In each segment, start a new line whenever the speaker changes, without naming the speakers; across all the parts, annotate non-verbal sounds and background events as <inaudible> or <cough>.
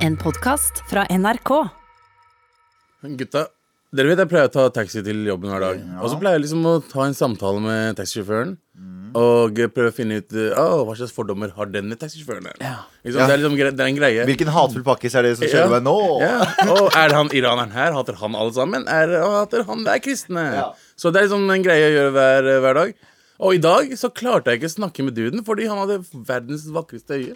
En podkast fra NRK.
Gutta, dere vet jeg pleier å ta taxi til jobben hver dag. Og så pleier jeg liksom å ta en samtale med taxisjåføren. Og prøve å finne ut eh, «Å, hva slags fordommer har denne taxisjåføren. her?» Ikke sant?
Ja.
Det, er liksom, gre- det er en greie.
Hvilken hatefull pakkis er det som kjører meg nå?
Ja. Og er det han iraneren her? Hater han alle sammen? Er, og hater han hver kristne?
Ja.
Så det er liksom en greie å gjøre hver, hver dag. Og i dag så klarte jeg ikke å snakke med duden fordi han hadde verdens vakreste øye.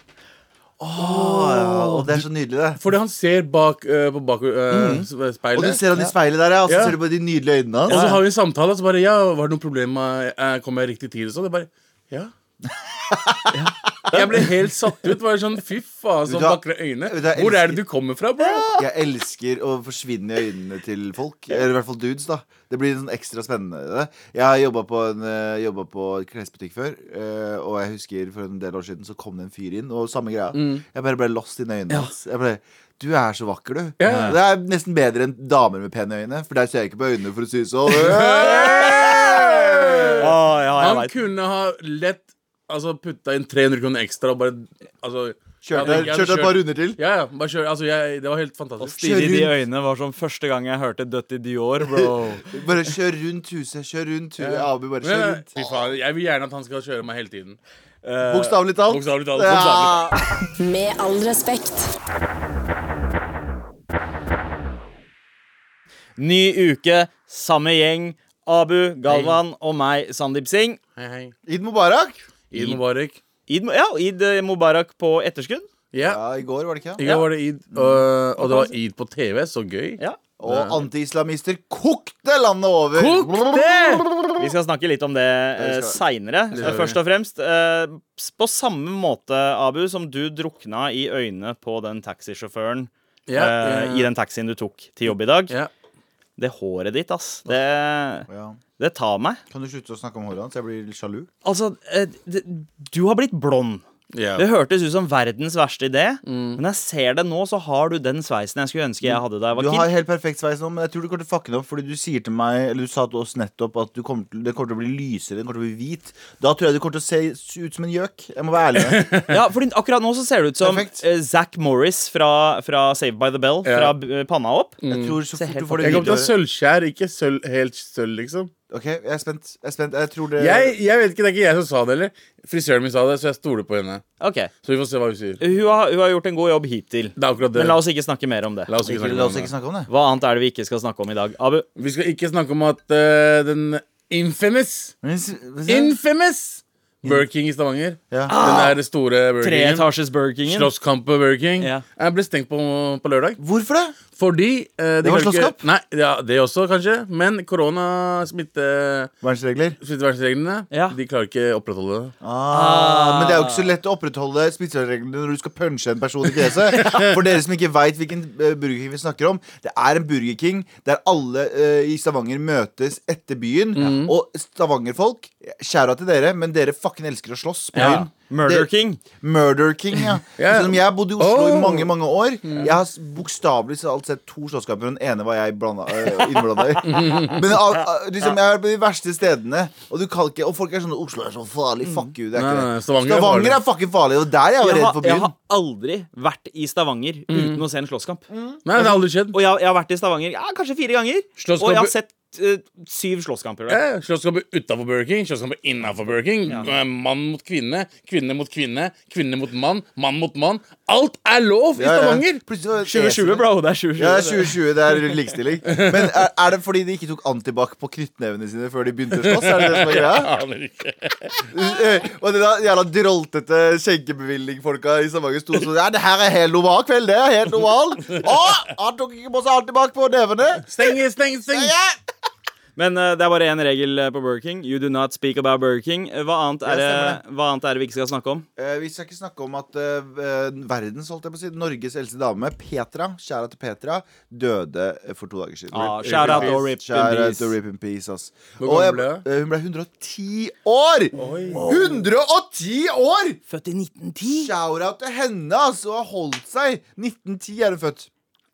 Å, det er så nydelig, det.
Fordi han ser bak øh, på bak, øh, speilet.
Mm. Og du ser han i speilet der, ja. Og så
Ja.
ser du på de nydelige øynene
Og så
hans.
har vi en samtale, og så bare Ja, var det noe problem med eh, Kom jeg riktig tid? Og sånn. Det bare Ja. ja. Jeg ble helt satt ut. Bare sånn Fy faen, så
Vet du hva?
vakre øyne.
Vet du hva jeg
Hvor er
elsker?
det du kommer fra, bro?
Jeg elsker å forsvinne i øynene til folk. Eller i hvert fall dudes, da. Det blir sånn ekstra spennende. Jeg har jobba på en eh, jobbet på en klesbutikk før, eh, og jeg husker for en del år siden så kom det en fyr inn, og samme greia.
Mm.
Jeg bare ble lost i øynene hans. Jeg ble du er så vakker, du.
Ja.
Det er nesten bedre enn damer med pene øyne. For der ser jeg ikke på øynene, for å si
<laughs>
det sånn.
Å, ja, jeg
Eh, Han
vet.
kunne ha lett Altså putta inn 300 kroner ekstra og bare Altså jeg
Kjørte,
hadde- jeg hadde
kjørte et par
kjørt-
runder til.
Ja, ja. Bare kjør. Altså, jeg Det var helt fantastisk.
Kjør
Stirre i de
rundt.
øynene var som første gang jeg hørte Dødt i Dior, bro.
Bare kjør rundt huset, kjør rundt huset. Abu, bare
Men,
kjør
eh,
rundt.
Fy faen, jeg vil gjerne at han skal kjøre meg hele tiden.
Bokstavelig talt.
Bokstavelig talt,
Ja.
Med all respekt.
<laughs> Ny uke, samme gjeng. Abu, Galvan og meg, Sandeep Singh.
Hei, hei.
Id Mubarak.
Eid Mubarak.
Id, ja, Id eh, Mubarak på etterskudd.
Ja.
Ja, I går, var det ikke?
I
det?
går var det Eid, og, og det var Eid på TV. Så gøy.
Ja.
Og antiislamister kokte landet over.
Kokte! Vi skal snakke litt om det eh,
Det skal
seinere.
skal vi.
Først og fremst, eh, s- på samme måte, Abu, som du drukna i øynene på den taxisjåføren
Ja,
eh,
ja.
i den taxien du tok til jobb i dag.
Ja.
Det håret ditt, ass. Det,
Ja.
det tar meg.
Kan du slutte å snakke om håret hans? Jeg blir litt sjalu.
Altså, eh, det, du har blitt blond.
Ja.
Det hørtes ut som verdens verste idé, men jeg ser det nå, så har du den sveisen jeg skulle ønske jeg hadde da jeg
Du
var
har
kid.
helt perfekt sveis nå, men jeg tror du kommer til å fucke den opp. Fordi du sier til meg, eller du sa til oss nettopp at du kommer til, det kommer til å bli lysere, den kommer til å bli hvit. Da tror jeg du kommer til å se ut som en gjøk. Jeg må
<laughs>
være ærlig med deg.
Ja, fordi akkurat nå så ser du ut som
Perfekt.
eh, Zack Morris fra, fra Save by the Bell, fra
Ja.
eh, panna opp.
Jeg tror så
Se
fort
helt
du får det
Jeg kommer til å ha
hvite
sølvskjær, ikke sølv, helt sølv, liksom.
Ok, jeg er spent. Jeg er spent. Jeg tror det
Jeg, jeg vet ikke, Det er ikke jeg som sa det, eller? Frisøren min sa det, så jeg stoler på henne.
Ok,
Så vi får se hva hun sier.
hun har, hun har gjort en god jobb hittil,
Det er akkurat det.
men la oss ikke snakke mer om det.
La oss ikke
Ikke,
snakke
La
om
oss ikke
det.
snakke om det.
Hva annet er det vi ikke skal snakke om i dag? Abu,
Vi skal ikke snakke om at eh, den infamous
Men s- hva sier jeg?
Infamous Burger King i Stavanger.
Ja.
Den der store Burger Kingen.
treetasjes Burger Kingen.
Slåsskamp på Burger King.
Ja.
Jeg ble stengt på, på lørdag.
Hvorfor det?
Fordi eh, de
Det
kan
var
ikke-
slåsskamp?
Nei, ja, det også, kanskje. Men koronasmitte...
Vernsregler.
Smittevernreglene
Ja.
De klarer ikke å opprettholde det.
Ah, men det er jo ikke så lett å opprettholde smittevernreglene når du skal punche en person i fjeset. For dere som ikke veit hvilken eh, Burger King vi snakker om, det er en Burger King der alle eh, i Stavanger møtes etter byen. Og Stavanger-folk, skjæra til dere, men dere fucking elsker å slåss på
Ja.
byen.
Murder
Det-
King.
Murder King, ja.
<laughs> Ja.
Selv om jeg bodde i Oslo
Oh.
i mange mange år. Jeg har s- bokstavelig talt sett to slåsskamper, og den ene var jeg blanda- øh, innblanda
<laughs>
i. Men al- al- liksom, jeg har vært på de verste stedene, og, du kan ikke, og folk er sånn Oslo er så farlig. Fuck you. Det er
Mm. Nei,
ikke
nei,
det.
Stavanger er
Stavanger er
farlig.
fucking farlig, og der er jeg jo
Jeg
redd
har,
for
jeg
byen. Mm.
har aldri vært i Stavanger uten å se en slåsskamp.
Nei, det har aldri skjedd.
Og jeg, jeg har vært i Stavanger ja, kanskje fire ganger, og jeg har sett eh, syv slåsskamper. der.
Eh, Slåsskamper utafor Burger King, slåsskamper innafor Burger King. Eh, Mann mot kvinne, kvinne mot kvinne, kvinne mot mann, mann mot mann. Alt er lov i
Ja, ja.
Stavanger!
Plutselig var det et
<laughs>
2020,
esel.
bro. Det er 2020.
Ja, det er 2020, det er likestilling. Men er, er det fordi de ikke tok antibac på knyttnevene sine før de begynte å slåss? Er det det som er greia?
Aner ikke.
Eh, Og det der jævla droltete skjenkebevilling-folka i Stavanger sto sånn Ja, det her er helt normal kveld, det. er Helt normal. Å, han tok ikke på seg antibac på nevene.
Steng, steng, steng!
Ja.
Men eh, det er bare én regel eh, på Burger King. You do not speak about Burger King. Eh, Hva annet er,
Ja,
det, hva annet er det vi ikke skal snakke om?
Eh, vi skal ikke snakke om at eh, eh, verdens, holdt jeg på å si, Norges eldste dame, Petra, kjære til Petra, døde eh, for to dager siden.
Ah,
Rip-
shout
rip in
out
peace.
og rip in
Shout out
peace.
og rip in peace, ass.
Hvor
Og
gammel
jeg-
ble
eh, Hun ble 110 år! 110 år!
Født i 1910.
Shout-out til henne, altså. og Har holdt seg. 1910 er hun født.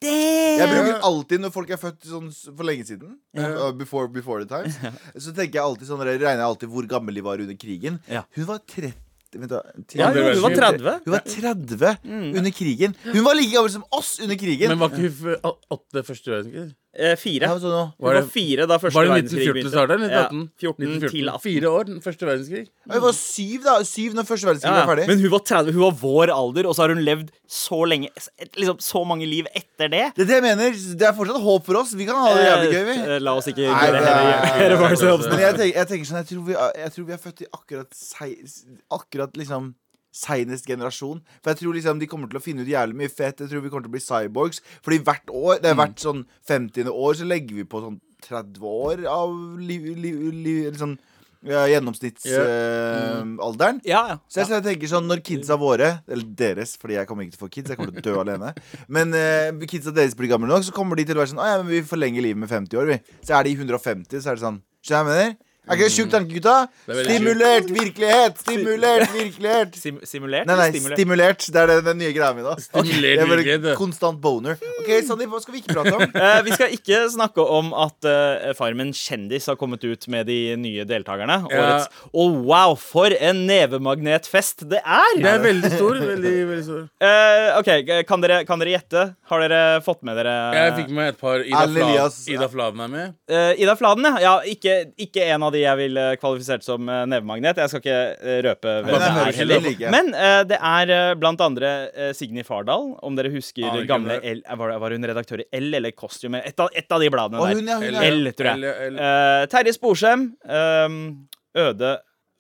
Jeg bruker alltid når folk er født sånn s- for lenge siden, uh, before, before the times, så tenker jeg alltid sånn, eller regner jeg alltid hvor gammel de var under krigen.
Ja.
Hun var 30 vent da, ti-
Ja,
jo, hun var 30.
Hun var 30 under krigen. Hun var like gammel som oss under krigen!
Men var ikke hun f- åtte første verdenskrig?
Eh,
Ja,
fire.
men så nå-
Hun var fire da første
Var det
verdenskrig
1914 det starta?
Ja,
1918?
14 til 18.
Fire år, den første verdenskrig.
Ja, Hun var syv da Syv når første verdenskrig
Ja,
var
ja.
ferdig.
Men hun var 30, hun var vår alder, og så har hun levd så lenge et- liksom, Så mange liv etter det.
Det er det jeg mener. Det er fortsatt håp for oss. Vi kan ha det jævlig gøy, vi.
Eh, La oss ikke
Nei, det
<laughs>
er-
gjøre ourselves.
Men jeg tenker, jeg tenker sånn, jeg tror, vi, er- jeg tror vi er født i akkurat, sei- akkurat liksom Seinest generasjon. For jeg tror liksom de kommer til å finne ut jævlig mye fett. Jeg tror vi kommer til å bli cyborgs. Fordi hvert år, det er hvert sånn 50. år, så legger vi på sånn 30 år av liv, liv, liv, eller sånn
Ja.
gjennomsnittsalderen.
Ja, ja.
Så jeg, så jeg tenker sånn, når kidsa våre, eller deres, fordi jeg kommer ikke til å få kids, jeg kommer til å dø alene Men eh, kidsa deres blir gamle nok, så kommer de til å være sånn Å ja, men vi forlenger livet med 50 år, vi. Så er de 150, så er det sånn. Skjønner du hva jeg mener? Er ikke det sjukt tanke, gutta?
Det er veldig
Stimulert virkelighet!
<laughs>
Stimulert virkelighet!
Sim simulert?
Nei, nei,
eller stimulert?
stimulert. Det er det- den nye greia mi nå.
Stimulert
Jeg er bare
virkelighet, det.
Konstant boner. OK, Sandeep, hva skal vi ikke prate
<laughs>
om?
Eh, vi skal ikke snakke om at eh, Farmen kjendis har kommet ut med de nye deltakerne.
Ja.
Årets. Og wow, for en nevemagnetfest det er!
Det er veldig stor. Veldig, veldig stor.
Eh, OK, kan dere, kan dere gjette? Har dere fått med dere
Jeg fikk med et par. Ida,
Erlend
Flav,
Elias.
Ida Flaven er med.
Eh, Ida Fladen, ja. ja ikke, ikke en av de jeg ville kvalifisert som eh, nevemagnet. Jeg skal ikke eh, røpe hvem
Nei,
det
nei,
er
hører
heller.
ikke like.
Men eh, det er eh, blant andre eh, Signy Fardal, om dere husker
Aner ikke
gamle
hvem det
L, var, var hun redaktør i L eller Costume? Et av, et av de bladene
Å,
der.
hun, ja, hun, ja.
L, tror jeg.
Eller- eller-
Eh, Terje Sporsem. eh, Øde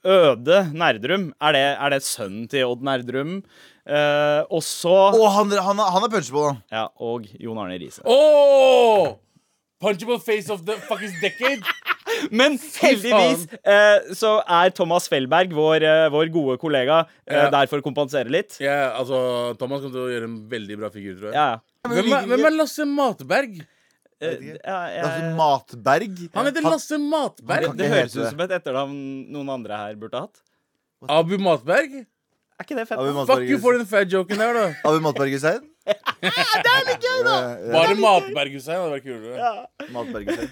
Øde Nerdrum. Er det, er det sønnen til Odd Nerdrum? Eh, og så
Å, han, han, han er punchball, han.
Ja, og Jon Arne Riise.
Åh! Punchable face of the fucking decade.
Men heldigvis eh, så er Thomas Felberg, vår, eh, vår gode kollega, eh,
Ja.
der for å kompensere litt. Ja,
Ja, altså, Thomas kommer til å gjøre en veldig bra figur, tror jeg.
ja.
Hvem, er, hvem er Lasse Matberg?
Eh,
vet ikke.
ja, jeg-
Altså, Matberg.
Han heter Lasse Matberg.
kan
det
ikke
høres
hete
ut
det.
som et etternavn noen andre her burde ha hatt.
Abu Matberg?
Er ikke det fett?
Abu
da?
Fuck you
Matberg-
for den fat joken der, da.
Abu Matberg Hussein? det er litt gøy, da!
Bare Matberg Hussein hadde vært kulere.
Matberg Hussein.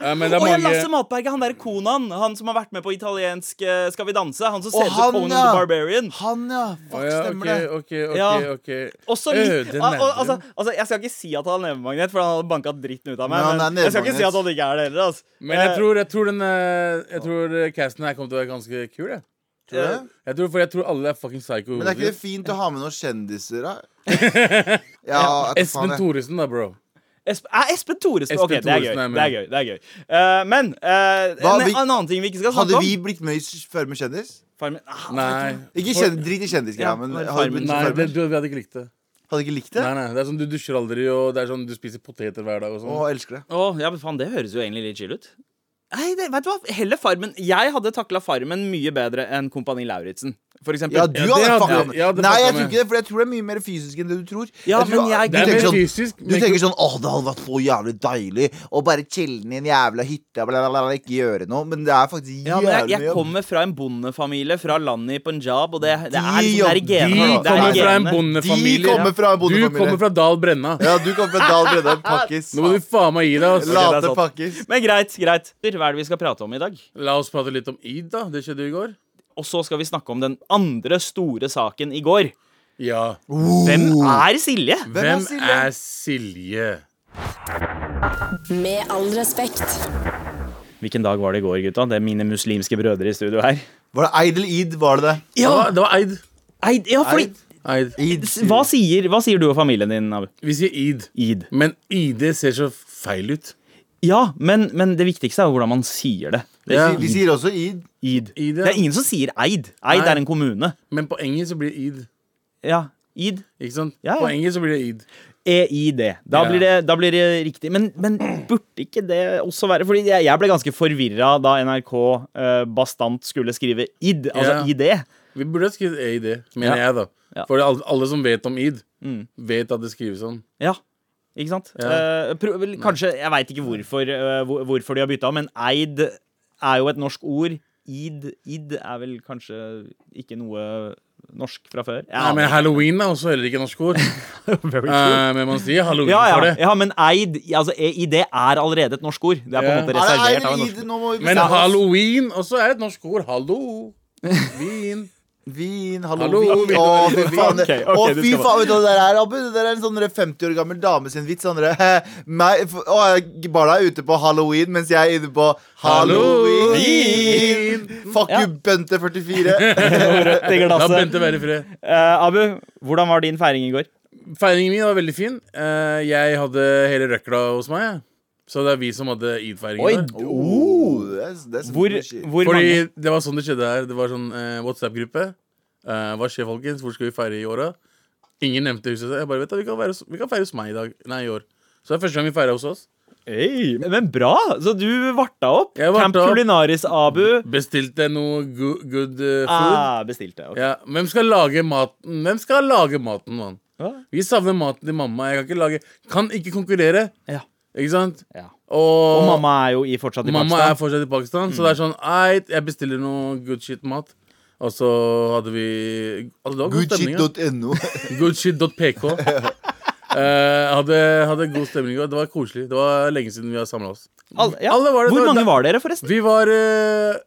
Ja, men det er
Å ja,
mange
Lasse Matberg er han der Konan. Han som har vært med på italiensk eh, Skal vi danse. Han som ser ut
han,
som Conan
ja.
the Barbarian.
Han, ja. Fuck,
Å ja,
stemmer
ok,
det.
ok, ok,
Ja.
ok
Også
Øde
litt, al al
Nerdrum.
altså, altså, jeg skal ikke si at han er nevemagnet, for han hadde banka dritten ut av meg.
Men
Men,
han er
jeg skal
nevemagnet.
ikke si at han ikke er det heller. Altså.
Men jeg
Eh,
tror, jeg tror, den, eh, jeg tror eh, casten her kommer til å være ganske kul. Jeg.
Tror du det?
Jeg tror, for jeg tror alle er fucking psycho.
Men er ikke det fint å ha med noen kjendiser,
<laughs>
da? Ja, at faen,
Espen
jeg-
Thoresen, da, bro.
Esp er Espen Thoresen.
Espen
Ok, det er gøy.
Thoresen er med.
Det er gøy, det er gøy. Eh, men eh,
Hva,
en,
vi-
en annen ting vi ikke skal snakke
Hadde
om
vi blitt med i s- Farmen kjendis?
Farmen- ah,
Nei.
Ikke
For-
kjend, drit i kjendisgreia,
Ja,
men
men
hadde, vi blitt
Farmen-
med
Nei,
i
det,
farmen?
du, vi hadde ikke likt det.
hadde ikke likt
Nei,
det?
nei, det er sånn Du dusjer aldri, og det er sånn du spiser poteter hver dag. og
Å,
sånn
jeg elsker det.
Å, ja, men faen, det høres jo egentlig litt chill ut. Nei, det, vet du hva? Heller Farmen. Jeg hadde takla Farmen mye bedre enn Kompani Lauritzen, for eksempel.
Ja, du
det
hadde
hadde-
fucka
jeg hadde
med.
fucka
Nei, jeg tror
med.
ikke det, for jeg tror det er mye mer fysisk enn det du tror.
Ja,
jeg tror,
men jeg-
du
Det er
tenker
mer
sånn-
fysisk.
Du
men
tenker sånn Å, det hadde vært så jævlig deilig å bare chille i en jævla hytte og bla, bla, bla, ikke gjøre noe. Men det er faktisk
Ja, men jeg,
jævlig
jeg
mye.
kommer fra en bondefamilie fra landet i Punjab, og
De
det, det er liksom det er i
jobb-
De
genene. Det er i
kommer fra en
genene.
bondefamilie.
De kommer fra en bondefamilie.
Du kommer fra Dal Brenna.
Ja, du kommer fra Dal Bredde, pakkis.
Nå må du faen meg gi deg. altså. ass.
La-
Late
sant.
pakkis.
Men greit, greit. Hva er det vi skal prate om i dag?
La oss prate litt om id, da. Det skjedde jo i går.
Og så skal vi snakke om den andre store saken i går.
Ja.
Hvem
Oh.
er Silje?
Hvem er
Hvem
Silje?
er Silje?
Med all respekt.
Hvilken dag var det i går, gutta? Det er mine muslimske brødre i studio her.
Var det Eid eller Eid? Var det det?
Ja, det var, det var Eid.
Eid, ja, fordi
Eid?
Eid.
Eid.
S- hva sier, hva sier du og familien din, Abu?
Vi sier id,
Eid.
men id ser så feil ut.
Ja, men, men det viktigste er jo hvordan man sier det. det
Ja.
De sier også Eid.
Eid.
Eid, ja.
Det er ingen som sier eid. Eid
Nei.
er en kommune.
Men på engelsk så blir det id.
Ja, Eid.
Ikke sant?
Ja, ja.
På engelsk så blir det id.
EID. E Da,
Ja.
blir det, da blir det riktig. Men, men burde ikke det også være Fordi jeg, jeg ble ganske forvirra da NRK eh, bastant skulle skrive id, altså
Ja.
ID.
Vi burde ha skrevet eid, mener
Ja.
jeg, da.
Ja.
For alle, alle som vet om id, vet at det skrives sånn.
Ja, ikke sant?
Ja.
Eh, pro- vel, kanskje, Jeg veit ikke hvorfor, eh, hvor, hvorfor de har bytta, men eid er jo et norsk ord. Id, id er vel kanskje ikke noe norsk fra før? Jeg
Nei, men
aner
halloween er også heller ikke norsk
<laughs>
ord.
ikke. Very true.
Eh, men man sier halloween
ja,
for det.
ja, ja, men eid altså, EID er allerede et norsk ord. Det er på en
Ja.
måte
Er det Eid
reservert
eller
av en norsk <laughs>
Eid? Nå må vi
Men
bestemme oss.
<laughs>
halloween også er et norsk ord. Hallo. Vin.
Vin, hallo,
Hallo,
vin.
vin.
Å, fy faen. det-
Ok, ok,
Å,
du
fy
skal
faen, vet du hva det der er, Abu? Det der er en sånn der 50 år gammel dame sin vits. Sånn der, <laughs> meg, f- å, jeg- barna er ute på halloween, mens jeg er inne på halloween. Fuck
Ja.
you, Bente44.
Rødt i
La
glasset.
Bente være i fred.
Eh, Abu, hvordan var din feiring i går?
Feiringen min var veldig fin. Eh, jeg hadde hele røkla hos meg. jeg. Så det er vi som hadde
Oi,
id-feiringen. da.
Oh, that's, that's
Hvor, hvor
Fordi
mange?
det var sånn det skjedde her. Det var sånn eh, WhatsApp-gruppe. Eh, hva skjer, folkens? Hvor skal vi feire i år, da? Ingen nevnte huset. så Jeg bare, vet du, vi kan, feire hos, vi kan feire hos meg i dag. Nei, i år. Så det er første gang vi feirer hos oss.
Hey, men bra! Så du varta opp.
Jeg varta
Camp
opp.
Culinaris Abu.
Bestilte noe go good eh, food.
Ah, bestilte. ok.
Ja, Hvem skal lage maten? Hvem skal lage maten, mann?
Ja.
Vi savner maten til mamma. Jeg kan ikke lage Kan ikke konkurrere,
Ja.
ikke sant?
Ja.
Og,
Og mamma er jo i fortsatt i
mamma er
Pakistan.
fortsatt i Pakistan, så det er sånn Eit, jeg bestiller noe good shit-mat. Og så hadde vi altså, det var god stemning, ja.
<laughs> Goodshit.no.
Goodshit.pk. Eh, hadde, hadde god stemning. og Det var koselig. Det var lenge siden vi har samla oss.
Al- ja.
Alle var det,
Hvor
det var-
mange var dere, forresten?
Vi var eh,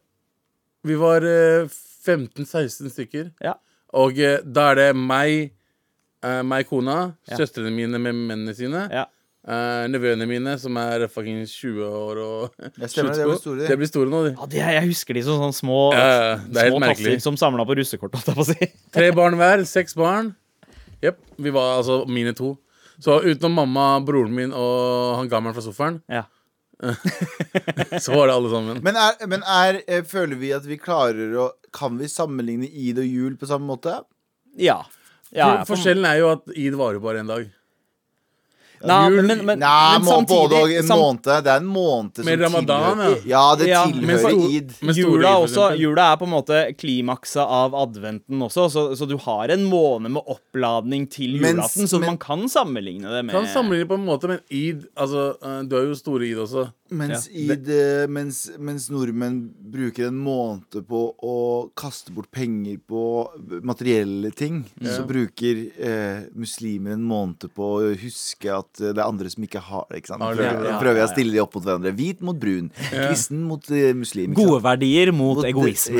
Vi var eh, 15-16 stykker.
Ja.
Og eh, da er det meg, eh, meg kona,
Ja.
søstrene mine med mennene sine,
Ja.
eh, nevøene mine, som er fucking 20 år og
Jeg stemmer, de
sluttsko.
blir store, de.
De blir store nå, de.
Ja, det, er- jeg husker de som sånne små,
Ja, ja, det er helt
små
merkelig.
tasser som samla på russekort. holdt jeg på å si.
Tre barn hver, seks barn. Jepp. Vi var altså mine to. Så utenom mamma, broren min og han gammelen fra sofaen,
Ja.
så var det alle sammen.
Men, er, men er, eh, føler vi at vi klarer å Kan vi sammenligne id og jul på samme måte?
Ja. ja, ja
For- Forskjellen er jo at id varer bare en dag.
Nei,
jul-
men, men, men,
Nei, må, både og
samtidig
en
sam-
måned. Det er en måned som
Med ramadan,
tilhører Ja, det
Ja, men
tilhører
stor-
id.
med store
Jula,
id, for
også,
eksempel.
jula er på en måte klimakset av adventen også, så, så du har en måned med oppladning til
Mens-
julaften, så
men-
man kan sammenligne det med
Kan sammenligne på en måte, men id altså, eh, Du har jo store id også.
Mens,
Ja.
id, eh, mens, mens nordmenn bruker en måned på å kaste bort penger på materielle ting,
Mm.
så bruker eh, muslimer en måned på å huske at eh, det er andre som ikke har det. Ikke sant?
Har det, Ah,
Prøver,
ja, ja,
prøver jeg
ja.
å stille de opp mot hverandre. Hvit mot brun. Kristen mot eh, muslim. ikke
Gode
sant?
verdier mot
Mot-
egoisme.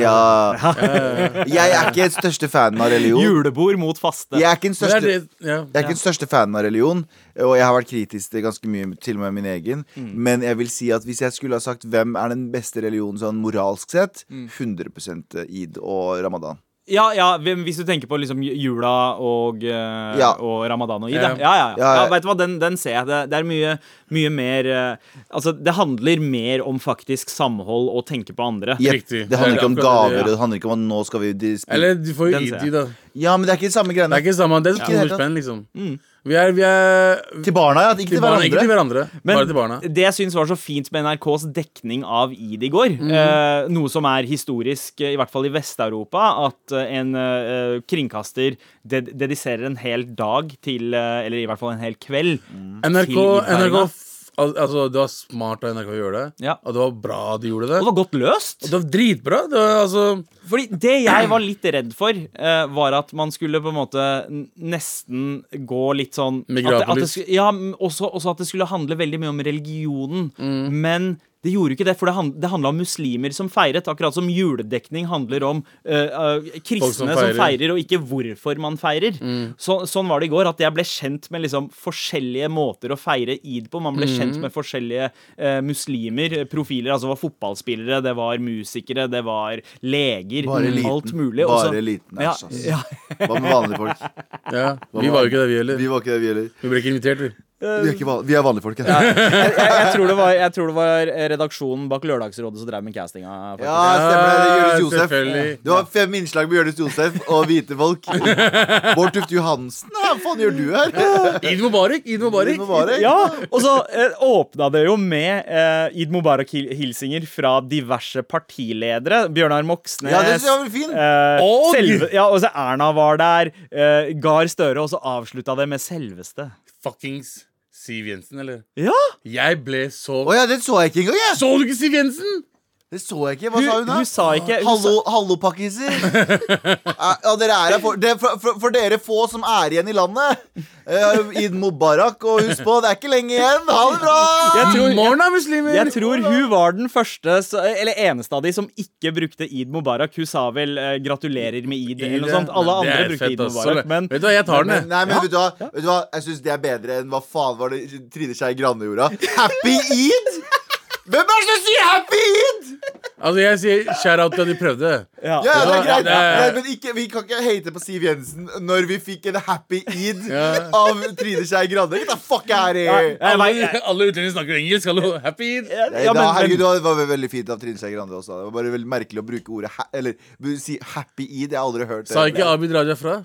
<laughs> Ja.
Eh,
Jeg er ikke den største fanen av religion.
Julebord mot faste.
Jeg er ikke den
det er
største
det, ja.
Jeg er ikke den største fanen av religion, og jeg har vært kritisk til ganske mye, til og med min egen. Men jeg vil si at hvis jeg skulle ha sagt hvem er den beste religionen sånn moralsk sett, 100 id og ramadan.
Ja, ja, hvem- hvis du tenker på liksom ju- jula og, eh,
Ja.
og ramadan og id.
Ja.
Ja, ja, ja.
Ja,
ja,
ja.
vet du hva, den, den ser jeg. Det, det er mye, mye mer eh, Altså, det handler mer om faktisk samhold og tenke på andre.
Jepp.
Riktig.
Det
Det
handler
er
ikke om
akkurat det,
gaver,
ja.
og det handler ikke om at nå skal vi dis-
Eller du får jo
Den ser jeg.
id, da.
Ja, men det er ikke de samme
Det er
greiene.
ikke det samme. Det er
Ikke i det hele
200 spenn, liksom.
Mm.
Vi er, vi er
Til barna, ja. Ikke til
barna, ikke til
hverandre.
hverandre.
Men
bare til barna.
det jeg syns var så fint med NRKs dekning av id i går, eh, noe som er historisk, eh, i hvert fall i Vest-Europa, at eh, en eh, kringkaster ded dediserer en hel dag til eh, Eller i hvert fall en hel kveld.
NRK,
til innfeiringa.
NRK f- al- Altså, det var smart av NRK å gjøre det.
Ja.
Og det var bra de gjorde
Og det
det.
var godt løst.
Og det var dritbra. Det var, altså,
Fordi det jeg var litt redd for, eh, var at man skulle på en måte n- nesten gå litt sånn at, det- at det,
Migrapolis.
sku- Ja, m- også, også at det skulle handle veldig mye om religionen. Men det gjorde ikke det, for det, hand, det handla om muslimer som feiret. Akkurat som juledekning handler om eh, eh, kristne
Folk
som
som
feirer.
feirer.
og ikke hvorfor man feirer.
Mm.
Så, sånn var det i går, at jeg ble kjent med liksom forskjellige måter å feire id på. Man ble
Mm.
kjent med forskjellige eh, muslimer, eh, profiler. Altså det var fotballspillere, det var musikere, det var leger mm,
Bare eliten.
alt mulig. og så-
Bare eliten. altså. æsj,
Ja,
ass. <laughs>
ja.
Hva med vanlige folk?
ja, vi var jo ikke det, vi heller.
Vi var ikke det, vi heller.
Vi ble ikke invitert, vi.
Vi er, ikke van vi er vanlige folk. Ja,
Jeg, jeg, tror det var, jeg tror det var eh, redaksjonen bak Lørdagsrådet som drev med castinga. faktisk.
ja stemmer det. Jonis Josef.
selvfølgelig.
Det var fem innslag med Jonis Josef og hvite
<laughs>
folk. Bård Tufte Johansen, hva faen gjør du her?
Id Mubarak! Id Mubarak.
Mubarak.
Ja, og så eh, åpna det jo med eh, Id Mubarak-hilsinger fra diverse partiledere. Bjørnar Moxnes.
Ja, det synes jeg var fin.
eh,
Og-
selve, ja, og så Erna var der. Eh, Gahr Støre. Og så avslutta det med selveste.
Fuckings Siv Jensen, eller?
Ja!
Jeg ble så
Å ja, den så jeg ikke engang, jeg.
Så du ikke Siv Jensen?
Det så jeg ikke. Hva sa hun da?
Hun sa ikke hun
Hallo, hallo
<laughs>
pakkiser! Ja, ja, dere er her for, det, for, for, for dere få som er igjen i landet. Uh, Id Mubarak, og husk på, det er ikke lenge igjen. Ha det bra!
Jeg tror-
Morna, muslimer!
Jeg tror hun var den første, s- eller eneste av de som ikke brukte Eid Mubarak. Hun sa vel eh, 'gratulerer med Eid' eller noe sånt. Alle
Det
andre
er
brukte
fett,
Eid
ass.
Mubarak, men
Vet du hva, jeg tar den, jeg.
Nei, men vet, du hva? vet du hva? Jeg syns det er bedre enn hva faen var det Trine Skei Grande gjorde. Happy Eid! Hvem er det som sier happy eid?!
Altså, jeg sier shout out til at de prøvde.
Ja,
ja.
det er
Ja,
greit.
ja, det er-
Nei, men ikke, vi kan ikke hate på Siv Jensen når vi fikk en happy eid
Ja.
av Trine Skei Grande. Get the fuck out of here!
Nei, jeg vet-
Alle, alle utlendinger snakker engelsk. Hallo, happy eid!
Ja,
Nei,
ja,
da,
men-
herregud, det var ve- veldig fint av Trine Skei Grande også. Det var bare veldig merkelig å bruke ordet ha Eller bu- si 'happy eid'. Jeg har aldri hørt det.
Sa ikke Abid Raja fra?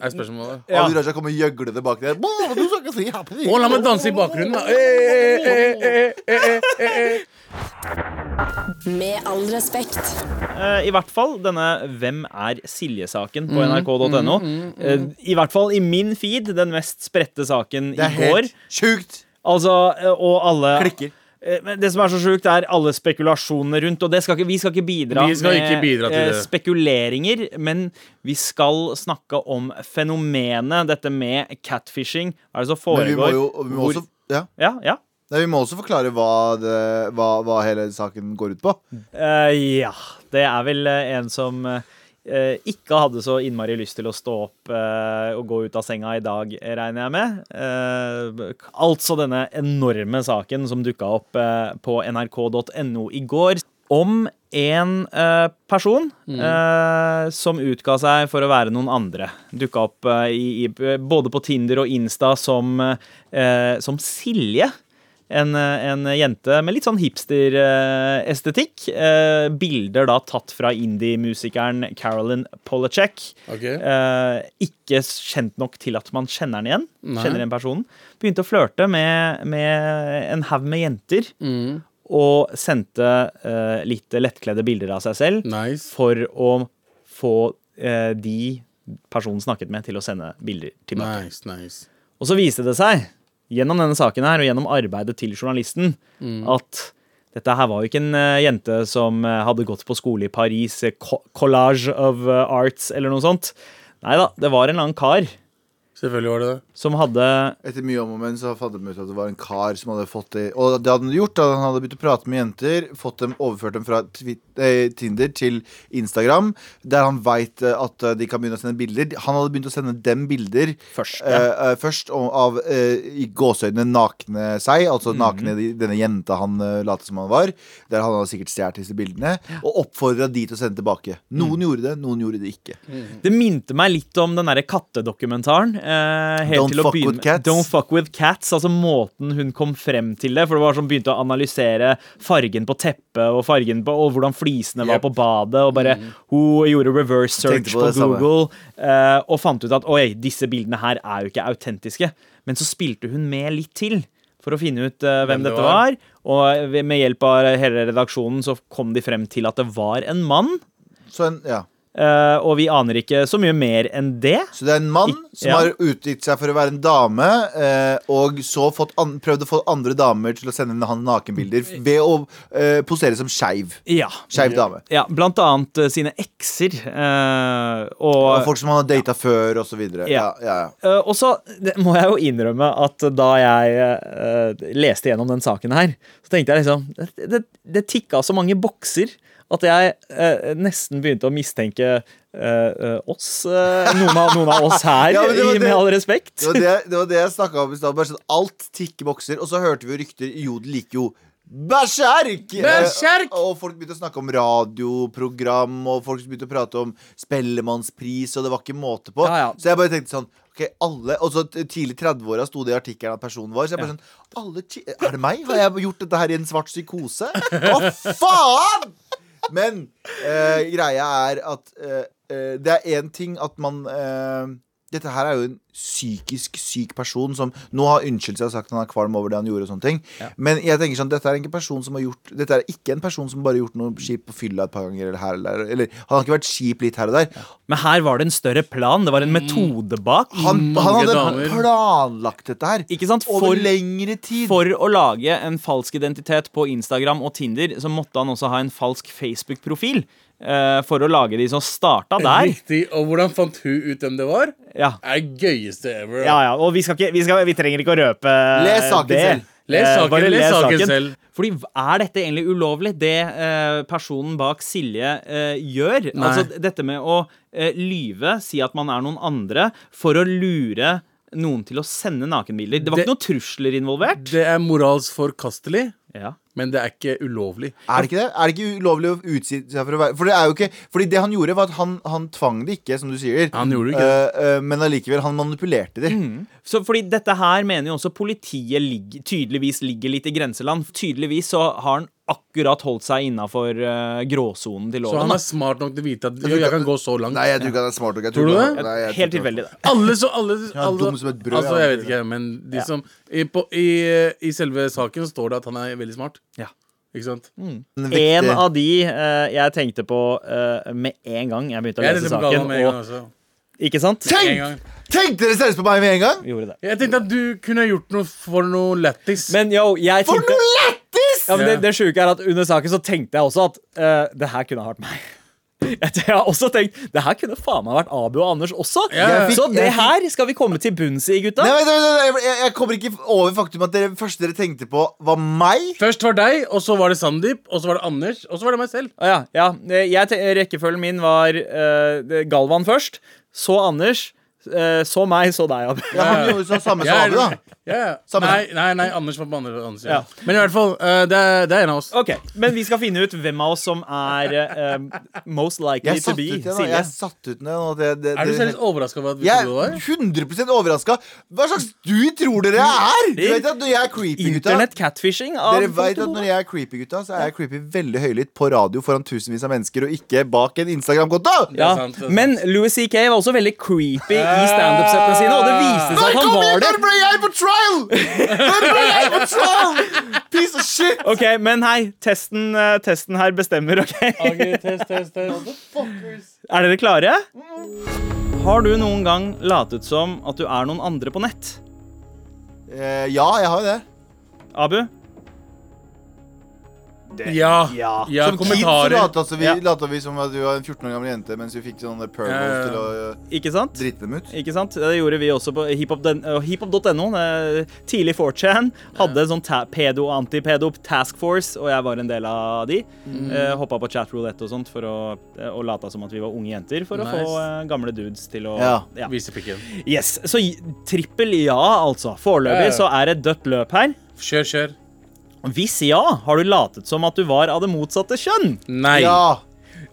Er spørsmålet.
Ja.
Abid Raja kommer gjøglende bak der. «Bå, Du skal ikke si happy
Å, la meg danse i bakgrunnen, da. Eh, eh, eh, eh, eh, eh, eh, eh.
Med all respekt.
Eh, I hvert fall denne 'Hvem er Silje?'-saken
Mm,
på nrk.no. Eh, I hvert fall i min feed, den mest spredte saken
Det er
i går.
helt sjukt.
Altså, eh, og alle
Klikker.
Eh, Men det som er så sjukt, er alle spekulasjonene rundt. Og det skal ikke, vi skal ikke bidra
Vi skal
med
ikke bidra til
eh,
det.
spekuleringer, men vi skal snakke om fenomenet, dette med catfishing. Hva er det som
Men vi må
foregår?
jo vi må
Hvor-
også ja.
Ja, ja.
Nei, vi må også forklare hva, det, hva, hva hele saken går ut på.
Eh, ja. Det er vel eh, en som eh, eh, ikke hadde så innmari lyst til å stå opp eh, og gå ut av senga i dag, regner jeg med. Eh, altså denne enorme saken som dukka opp eh, på nrk.no i går. Om en eh, person eh, som utga seg for å være noen andre. Dukka opp eh, i, i, både på Tinder og Insta som, eh, som Silje en, eh, en jente med litt sånn hipster-estetikk. Eh, bilder da tatt fra indie-musikeren Carolyn Polacek.
Ok.
Eh, ikke kjent nok til at man kjenner den igjen.
Nei.
Kjenner igjen personen. Begynte å flørte med, med en haug med jenter. Og sendte eh, litt lettkledde bilder av seg selv
Nice.
for å få eh, de personen snakket med, til å sende bilder tilbake.
Nice, nice.
Og så viste det seg, gjennom denne saken her, og gjennom arbeidet til journalisten,
Mm.
at dette her var jo ikke en eh, jente som eh, hadde gått på skole i Paris, eh, co- Collage of eh, Arts eller noe sånt. Nei da, det var en eller annen kar
Selvfølgelig var det det.
som hadde
Etter mye om og men så fant de ut at det var en kar som hadde fått det Og det hadde han gjort da han hadde begynt å prate med jenter, fått dem, overført dem fra Twi- eh, Tinder til Instagram, der han veit at eh, de kan begynne å sende bilder. Han hadde begynt å sende dem bilder
Først, ja.
eh, eh, først og- av eh, i gåseøynene nakne seg, altså
Mhm.
nakne de- denne jenta han uh, lot som han var, der han hadde sikkert stjålet disse bildene, og oppfordra de til å sende tilbake. Noen
Mhm.
gjorde det, noen gjorde det ikke.
Det minte meg litt om den derre kattedokumentaren. Eh, helt
Don't
til å
fuck
begynne
with
med-
cats.
Don't fuck with cats. Altså måten hun kom frem til det For det var sånn begynte å analysere fargen på teppet og fargen på Og hvordan flisene var
Yep.
på badet. Og bare Hun gjorde reverse
Mm. Tenkte
search
på
på,
det samme.
Google eh, og fant ut at oi, disse bildene her er jo ikke autentiske. Men så spilte hun med litt til. For å finne ut eh, hvem, dette var. Og ved- med hjelp av hele redaksjonen så kom de frem til at det var en mann.
Så en, ja
Eh, og vi aner ikke så mye mer enn det.
Så det er en mann
Ik-
som
ja.
har utgitt seg for å være en dame, eh, og så fått an prøvd å få andre damer til å sende henne han nakenbilder f- ved å eh, posere som skeiv.
Ja.
Skeiv dame.
ja blant annet eh, sine ekser. eh,
Og
og
folk som han har data før, og så videre. Ja,
Ja.
ja, ja.
Eh, og så det må jeg jo innrømme at da jeg eh, leste gjennom den saken her, så tenkte jeg liksom Det, det, det tikka så mange bokser at jeg eh, nesten begynte å mistenke eh, eh, oss. eh, noen, av, noen
<laughs>
av oss her,
Ja, men det var
i,
det-
med all respekt.
Det var det, det, var det jeg snakka om i stad. bare sånn Alt tikker bokser. Og så hørte vi jo rykter Jodel gikk jo berserk! Eh,
Berserk!
Og folk begynte å snakke om radioprogram, og folk begynte å prate om Spellemannspris, og det var ikke måte på.
Ja, ja.
Så jeg bare tenkte sånn Ok, alle Og så t- tidlig 30-åra sto det i artikkelen at personen var. Så jeg bare sånn alle ti Er det meg? Har jeg gjort dette her i en svart psykose? Å, faen! Men eh, greia er at eh, eh, det er én ting at man eh, dette her er jo en psykisk syk person som nå har unnskyldt seg og sagt han er kvalm over det han gjorde. og sånne ting Men jeg tenker sånn, dette er ikke en person som har gjort Dette er ikke en person som bare har gjort noe kjipt på fylla et par ganger. Eller her eller, der. eller Han har ikke vært kjip litt her og der.
Men her var det en større plan. Det var en metode bak.
Mm. Han, han hadde
damer.
planlagt dette her
Ikke sant?
over
For-
lengre tid.
For å lage en falsk identitet på Instagram og Tinder, så måtte han også ha en falsk Facebook-profil. eh, for å lage de som starta der.
Riktig. Og hvordan fant hun ut hvem det var?
Ja.
Er det gøyeste ever.
Ja, ja, og vi, skal ikke, vi, skal, vi trenger ikke å røpe
Les saken
det.
selv.
Les
Eh,
saken,
bare
les
les
saken
saken.
selv.
Fordi er dette egentlig ulovlig, det eh, personen bak Silje eh, gjør?
Nei.
Altså d- dette med å eh, lyve, si at man er noen andre, for å lure noen til å sende nakenbilder. Det var
Det-
ikke noen trusler involvert.
Det er moralsk forkastelig,
Ja.
men det er ikke ulovlig.
Er det ikke det? Er det ikke ulovlig å utsi seg for å være For det er jo ikke Fordi det han gjorde, var at han, han tvang det ikke, som du sier.
Han gjorde ikke Mm.
Eh, eh, men allikevel, han manipulerte det.
Så fordi dette her mener jo også politiet ligger, tydeligvis ligger litt i grenseland. Tydeligvis så har han akkurat holdt seg innafor eh, gråsonen til
Så han
loven.
er smart nok til å vite at jo, jeg kan gå så langt.
Nei, jeg tror ikke han er smart nok. Jeg
Tror du
ikke han-
det?
da.
Nei, jeg
Helt
tror ikke han-
tilfeldig, det.
Alle så alle,
er
alle
dum som et brød,
Altså,
han
jeg vet
fyren.
ikke, men de
Ja.
som i, på, i, eh, I selve saken står det at han er veldig smart.
Ja.
Ikke sant?
Den viktige-
En av de eh, jeg tenkte på eh, med en gang jeg begynte å
Jeg
lese
tenkte på Galvan
saken.
med en gang
Og,
også.
ikke sant?
Med en
Tenk!
gang.
Tenk dere seriøst på meg med en gang!
Vi Gjorde det.
Jeg tenkte at du kunne gjort noe for noe lættis.
Men yo, jeg
For
tenkte
noe lættis!
ja, men det,
Ja.
det sjuke er at under saken så tenkte jeg også at eh, det her kunne ha vært meg. <laughs> Jeg har også tenkt det her kunne faen meg vært Abu og Anders også.
Jeg
fikk-
så det
jeg fikk-
her skal vi komme til bunns i, gutta.
Nei, vent, vent, vent, jeg, jeg kommer ikke over faktum at det første dere tenkte på, var meg.
Først var deg, og så var det Sandeep, og så var det Anders, og så var det meg selv.
Å Ja, ja. Eh, Jeg, te- rekkefølgen min var eh, det- Galvan først, så Anders, eh, så meg, så deg. Abu.
Ja, han gjorde sånn samme som
Jeg er-
Abu, da.
Ja, ja.
Samme
Nei, nei, nei, Anders var på andre. Anders, ja.
Ja.
Men i hvert fall, eh, det, er, det er en av oss.
<laughs> Ok, Men vi skal finne ut hvem av oss som er eh, um, most likely
Jeg
to
satt
be
ut igjen. da.
Silje.
Jeg satt ut nå. at Det, det,
Er du
det,
seriøst overraska over at vi
jeg
trodde det var?
er 100 overraska. Hva slags du tror dere jeg er? Du vet at når jeg er creepy, gutta
Internett catfishing. Av
Dere vet at
Foto.
når jeg er creepy, gutta, så er jeg creepy veldig høylytt på radio foran tusenvis av mennesker, og ikke bak en Instagram-konto!
ja.
Det er sant, det er sant.
Men Louis C.K. var også veldig creepy i standup-settene sine. Og det viste
Når
seg at han
kommer jeg,
var det
når ble jeg på trial?! Når ble jeg på trial?! Piece of shit!
Ok, Men hei, testen, eh, testen her bestemmer, OK?
Ok, test, test, test.
Er dere klare? Har du noen gang latet som at du er noen andre på nett?
Eh, ja, jeg har jo det.
Abu?
Ja.
Ja.
ja
som kid så
kommentarer.
lata vi,
Ja.
lata vi som at vi var en 14 år gammel jente, mens vi fikk sånne pearls
Ja, ja, ja.
til å eh,
Ikke sant?
drite dem ut.
Ikke sant? Det gjorde vi også på hiphop.no. hiphop.no, eh, tidlig 4chan. Hadde en sånn ta- pedo- og antipedo task force, og jeg var en del av de. Mm. Hoppa på chat roulette og sånt for å, eh, og lata som at vi var unge jenter for å
Nice.
få eh, gamle dudes til å
Ja.
Vise pikken.
Yes. Så j- trippel ja, altså. Foreløpig
Ja, ja.
så er det dødt løp her.
Kjør, kjør.
Hvis ja, har du latet som at du var av det motsatte kjønn?
Nei.
Ja,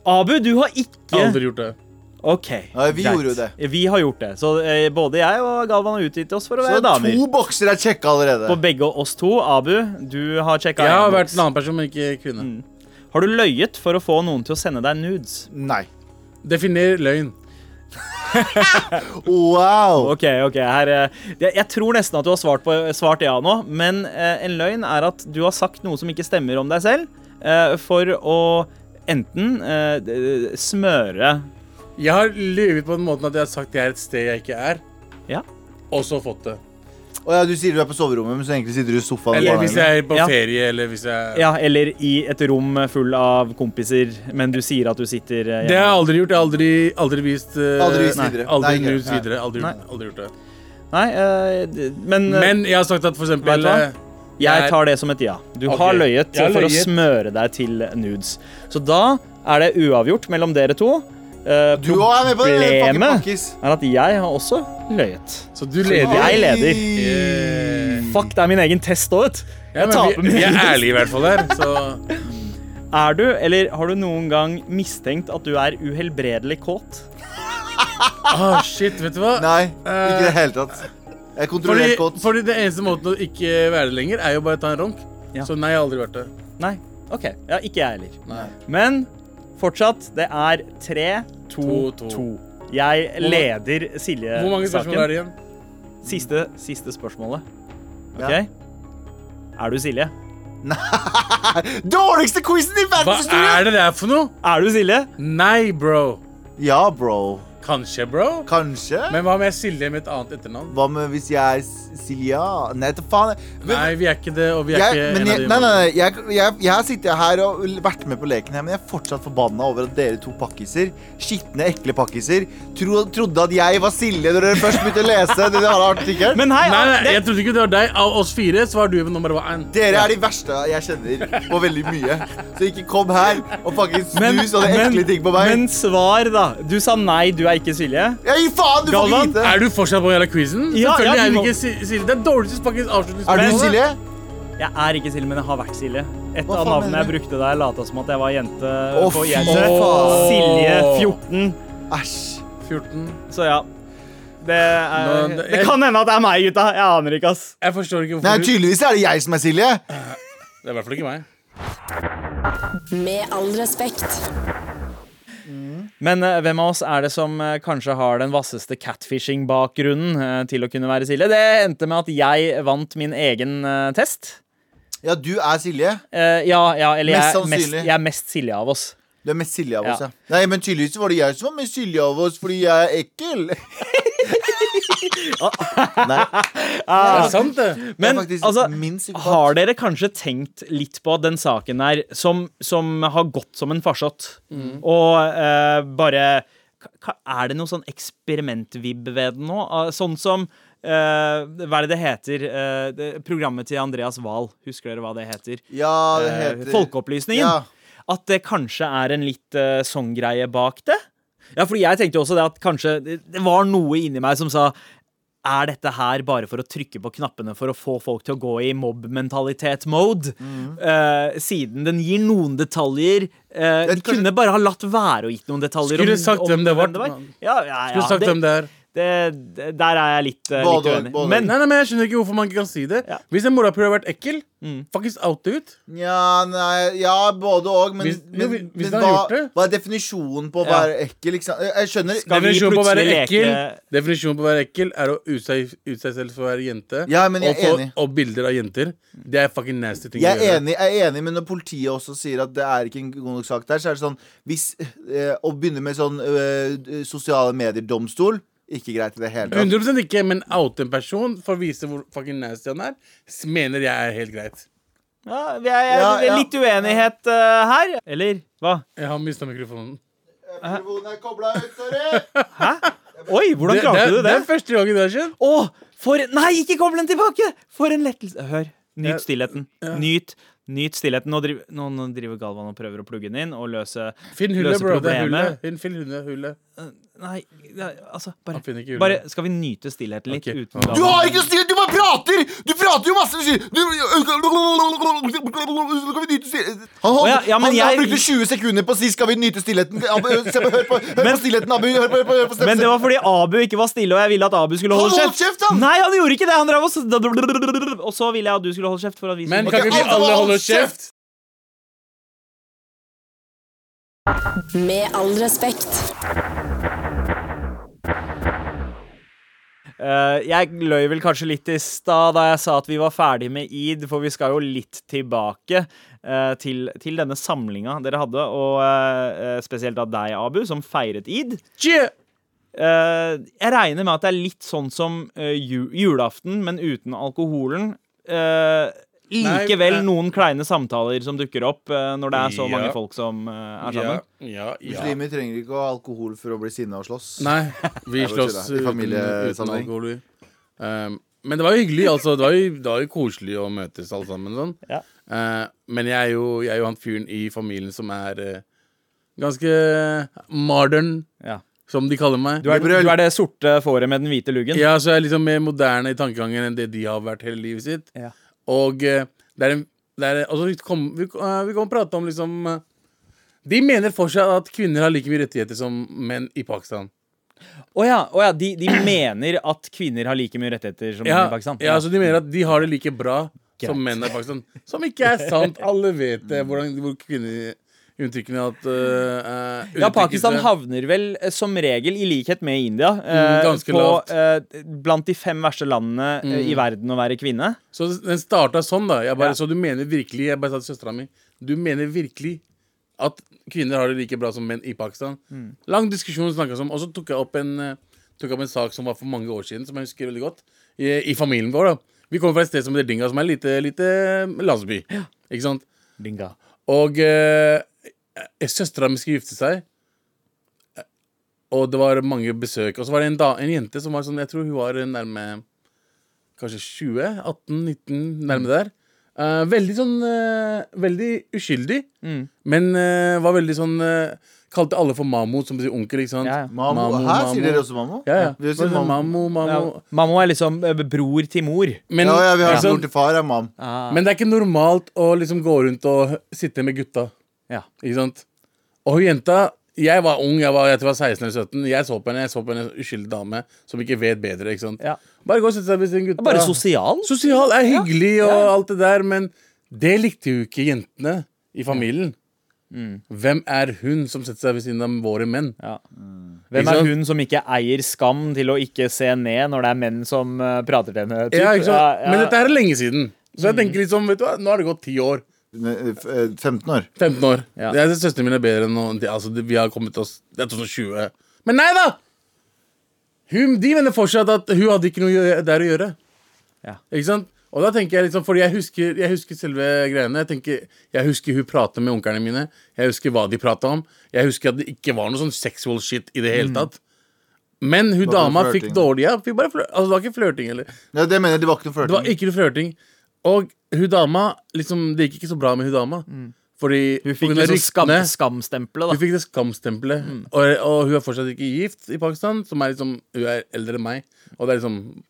Abu, du har ikke
Aldri gjort det.
OK.
Nei, vi
greit.
gjorde jo det.
Vi har gjort det. Så eh, både jeg og Galvan har utgitt oss for å
Så
være damer.
to bokser er sjekka allerede.
På begge oss to. Abu, du har sjekka.
Jeg har
en
vært
boks.
en annen person, men ikke kvinne.
Har du løyet for å få noen til å sende deg nudes?
Nei.
Definer løgn.
Wow.
Ok, ok, her, eh, jeg, jeg tror nesten at du har svart, på, svart ja nå, men eh, en løgn er at du har sagt noe som ikke stemmer om deg selv, eh, for å enten eh, d- smøre
Jeg har lyvet på den måten at jeg har sagt jeg er et sted jeg ikke er,
Ja.
og så fått det.
Å ja, du sier du er på soverommet, men så egentlig sitter du i sofaen. i
Eller
barnehagen.
hvis jeg er på
Ja.
ferie, eller hvis jeg
Ja, eller i et rom full av kompiser, men du sier at du sitter eh,
Det har jeg aldri gjort. Jeg har aldri, aldri vist eh,
Aldri vist
nei,
videre.
Aldri
Nei,
nudes
nei.
videre. Aldri,
Nei.
aldri gjort det.
Nei, eh, d- men, eh,
Men jeg har sagt at for
Vet
eksempel
du hva?
eh,
Jeg tar det som et ja. Du
Ok,
har løyet
jeg har
for
løyet.
å smøre deg til nudes. Så da er det uavgjort mellom dere to. Eh,
Du òg er med på det, fucking
Problemet
pakkis.
er at jeg har også løyet.
Så du leder.
Jeg leder.
Yeah.
Fuck, det er min egen test òg, vet du.
Ja,
Jeg taper
men vi,
min
vi er
egen test.
ærlige i hvert fall her, så
Er du, eller har du noen gang mistenkt at du er uhelbredelig kåt?
Ah, shit, vet du hva?
Nei, ikke i det hele tatt. Jeg kontrollerer
Fordi,
godt.
fordi det eneste måten å ikke være det lenger, er jo bare å ta en ronk.
Ja.
Så nei, jeg har aldri vært det.
Nei. OK. Ja, ikke jeg heller.
Nei.
Men fortsatt, det er tre, to,
To, to.
to. Jeg leder Silje-saken.
Hvor mange spørsmål er det igjen?
Siste, siste spørsmålet. OK?
Ja.
Er du Silje?
Dårligste quizen i
Hva
verdenshistorien!
er det der for noe?
Er du Silje?
Nei, bro.
Ja, bro.
Kanskje, bro.
Kanskje?
Men hva om jeg stiller med et annet etternavn?
Hva med hvis jeg er S- Silja? Nei, ta faen. Men-
Nei, vi er ikke det, og vi er
jeg,
ikke
men
en
jeg,
av de
nei, nei, nei, jeg, jeg, jeg har sittet her og l- vært med på leken her, men jeg er fortsatt forbanna over at dere to pakkiser, skitne, ekle pakkiser, tro, trodde at jeg var Silje når dere først begynte å lese denne artikkelen.
Men hei,
Nei, nei,
det-
jeg trodde ikke det var deg. Av oss fire så var du med nummer én.
Dere er de verste jeg kjenner på veldig mye. Så ikke kom her og fucking snu sånne ekle ting på meg.
men svar, da. Du sa nei, du er ikke Silje.
Ja, gi faen, du får
Galvan,
ikke vite!
Er du fortsatt på jævla quizen?
Ja,
Selvfølgelig
ja,
er
vi
vi
må-
ikke Si- Silje. Det er dårligste pakkens
Er du
avslutningsspørsmål.
Silje?
Jeg er ikke Silje, men jeg har vært Silje. Et
Hva
av
faen
navnene jeg
mener
brukte da jeg lata som at jeg var jente
Å,
på
fy
Jeltse.
faen.
Silje 14.
Æsj.
14.
Så ja. Det, er,
Nå, det-
det kan hende at det er meg, gutta. Jeg aner ikke, ass.
Jeg forstår ikke
Nei,
hvorfor du
tydeligvis er det jeg som er Silje.
Det er i hvert fall ikke meg.
Med all respekt.
Men eh, hvem av oss er det som eh, kanskje har den vasseste catfishing-bakgrunnen eh, til å kunne være Silje? Det endte med at jeg vant min egen eh, test.
Ja, du er Silje.
Eh, ja, ja, eller
Mest
jeg, er mest,
sannsynlig.
jeg er mest Silje av oss.
Du er mest Silje av oss,
Ja.
ja. Nei, men tydeligvis var det jeg som var mest Silje av oss fordi jeg er
<laughs>
ekkel. Nei,
Er det sant, det?
jeg
Ah. Men
er faktisk
altså,
min psykopat.
har dere kanskje tenkt litt på at den saken der som, som har gått som en farsott, og eh, bare ka- Er det noe sånn eksperimentvib ved den nå? Ah, Sånn som eh, Hva er det det heter? Eh, det, programmet til Andreas Wahl. Husker dere hva det heter?
ja, det
Eh,
heter
Folkeopplysningen.
Ja.
At det kanskje er en litt eh, sånn greie bak det. Ja, fordi jeg tenkte jo også det at kanskje det det var noe inni meg som sa er dette her bare for å trykke på knappene for å få folk til å gå i mobbmentalitet-mode?
Mm.
Eh, siden den gir noen detaljer. eh, de
Det er kanskje-
kunne bare ha latt være å gitt noen detaljer.
Skulle sagt hvem det var.
Ja, ja, ja,
Skulle sagt
det,
hvem det er.
det, det, der er jeg litt, eh,
Både
litt
og,
uenig.
både og.
Men
Nei, nei, men Jeg skjønner ikke hvorfor man ikke kan si det.
Ja. Mm.
Hvis en morapuler har vært ekkel, faktisk out det ut.
Ja, nei, ja, både òg, men,
Hvis- jo,
men,
hvis- hvis
men
du har
hva,
gjort det.
hva er definisjonen på å
Ja.
være ekkel? Ikke sant? Jeg- Jeg skjønner
Skal vi
Definisjonen på å være
plutselig
ekkel
leke-
Definisjonen på å være ekkel er å utsette seg, ut seg selv for å være jente.
Ja, men jeg
og,
er
få-
enig.
og bilder av jenter. Det er fucking nasty ting
jeg
å
er
gjøre.
enig, jeg er enig, men når politiet også sier at det er ikke en god nok sak der, så er det sånn hvis, eh, Å begynne med sånn eh, sosiale medier-domstol, ikke greit i det hele tatt.
100 ikke, men oute en person for å vise hvor fucking nasty han er, s- mener jeg er helt greit.
ja, vi er,
Ja,
det er
ja.
litt uenighet eh, her. Eller hva?
Jeg har mista mikrofonen.
Telefonen er kobla ut, sorry!
Oi, hvordan klarte
det,
du det?
er første gangen det har skjedd.
Å, for Nei, ikke kobl den tilbake! For en lettelse. Hør. Nyt stillheten. Nyt, nyt stillheten. Nå driver, nå, nå driver Galvan og prøver å plugge den inn og løse
Finn hullet,
Løse
bro. Det er
problemet.
hullet. Finn, finn hullet, hullet.
Nei, ja, altså bare,
Han finner ikke hjulet.
bare Skal vi nyte stillheten litt
Ok. Du
uten
Du
Galvan?
har ikke noe stil! Du bare prater! Du prater jo masse! Du sier du- Skal vi nyte stillheten? Han,
Å ja,
holdt,
ja, men
han, han
jeg-
brukte 20 sekunder på å si 'skal vi nyte stillheten'? Abu, Se på, hør på, hør på stillheten, Abu! Hør på, hør på, hør på
Men det var fordi Abu ikke var stille, og jeg ville at Abu skulle holde
Han
kjeft.
holdt kjeft, han!
Nei, han gjorde ikke det! Han drev og Og så ville jeg at du skulle holde kjeft. For at vi
Men
skulle...
Ok,
kan ikke vi
alle
alle
hold
holde kjeft?
kjeft!
Med all respekt.
Eh, jeg løy vel kanskje litt i stad da jeg sa at vi var ferdig med id, for vi skal jo litt tilbake eh, til, til denne samlinga dere hadde, og eh, eh, spesielt av deg, Abu, som feiret id.
Tje!
Eh, jeg regner med at det er litt sånn som eh, ju julaften, men uten alkoholen. Eh, likevel
Nei, eh.
noen kleine samtaler som dukker opp eh, når det er så
Ja.
mange folk som eh, er
Ja,
sammen.
ja, ja.
Muslimer trenger ikke å ha alkohol for å bli sinna og slåss. <laughs>
Nei, vi
Jeg bare
slåss eh,
tuller. I
uten, uten
familiesammenheng.
alkohol. vi. Um, men det var jo hyggelig. altså Det var jo, det var jo koselig å møtes alle sammen. sånn
Ja.
Eh, Men jeg er, jo, jeg er jo han fyren i familien som er eh, ganske modern,
Ja.
som de kaller meg.
Du, er, du er det sorte fåret med den hvite luggen.
Ja, så jeg er liksom mer moderne i tankegangen enn det de har vært hele livet sitt.
Ja.
Og eh, det er en det er, altså, vi kommer vi, eh, vi kommer prate om liksom eh, De mener fortsatt at kvinner har like mye rettigheter som menn i Pakistan.
Å ja, å ja de, de mener at kvinner har like mye rettigheter som
Ja,
menn i Pakistan.
ja, så De mener at de har det like bra
Greit.
eh,
<laughs>
som menn i Pakistan. Som ikke er sant. Alle vet det, hvordan, hvor kvinner uttrykkene at eh, eh,
Ja, Pakistan
uttrykkene-
havner vel eh, som regel, i likhet med India, eh,
Mm, ganske
på,
lavt. Mm.
eh, blant de fem verste landene eh, i verden å være kvinne.
Så den starta sånn, da. Jeg bare,
Ja.
Så du mener virkelig Jeg bare sa til søstera mi Du mener virkelig at kvinner har det like bra som menn i Pakistan? Lang diskusjon snakka om. Og så tok jeg opp en eh, Tok jeg opp en sak som var for mange år siden, som jeg husker veldig godt. I, i familien vår, da. Vi kommer fra et sted som heter Dinga, som er en lite, lite landsby. Ikke sant?
Dinga.
Og eh, søstera mi skulle gifte seg. Eh, Og det var mange besøk. Og så var det en, da, en jente som var sånn Jeg tror hun var nærme kanskje 20? 18-19? Nærme der. Eh, veldig sånn eh, Veldig uskyldig,
Mm.
men eh, var veldig sånn eh, Kalte alle for Mamo, som betyr onkel, ikke sant?
Ja, ja.
Mamo. Her sier dere også mamo?
Ja, ja.
Vi sier
Mamo,
mam.
mamo,
Ja. Mammo er liksom eh, bror til mor.
Men, Altså-
Ja, ja, vi har
ikke sant?
mor til far er mam.
men det er ikke normalt å liksom gå rundt og sitte med gutta.
Ja.
Ikke sant? Og hun jenta Jeg var ung, jeg var, jeg tror jeg var 16 eller 17. Jeg så på henne jeg så på henne en uskyldig dame som ikke vet bedre. ikke sant?
Ja.
Bare gå og sette seg ved sin gutt.
Bare sosial.
Sosial er hyggelig og alt det der, men det likte jo ikke jentene i familien.
Mm.
Hvem er hun som setter seg ved siden av våre menn?
Ja. Hvem
Ikke
er
sant?
hun som ikke eier skam til å ikke se ned når det er menn som eh, prater til henne? typ?
Ja, ikke sant?
Ja, Mm. ja.
Men dette her er lenge siden. Så jeg tenker liksom, vet du hva, nå har det gått ti år.
Ne- f- eh, 15 år.
15 år.
Ja.
Jeg synes Søstrene mine er bedre enn noen. de- Altså, de- vi har kommet oss Det er 2020. Men nei da! Hun, de mener fortsatt at hun hadde ikke noe gjø- der å gjøre.
Ja.
Ikke sant? Og da tenker jeg liksom, fordi jeg husker, jeg husker selve greiene. Jeg, tenker, jeg husker hun prater med onklene mine. Jeg husker hva de prata om. Jeg husker at det ikke var noe sånn sexual shit i det hele tatt. Men hun
Det var
dama
bare
fikk
flørting.
dårlig ja, fikk bare flør, altså, Det var ikke flørting heller.
Ja, det mener jeg, det var ikke noe
Det var
flørting.
ikke noe flørting. Og hun dama liksom, Det gikk ikke så bra med hun dama. Fordi
Mm. Hun
på
fikk
grunn av
liksom skam, Mm.
ryktene-
skamstempelet,
hun
da.
fikk det skamstempelet. Og, og hun er fortsatt ikke gift i Pakistan, som er liksom Hun er eldre enn meg, og det er liksom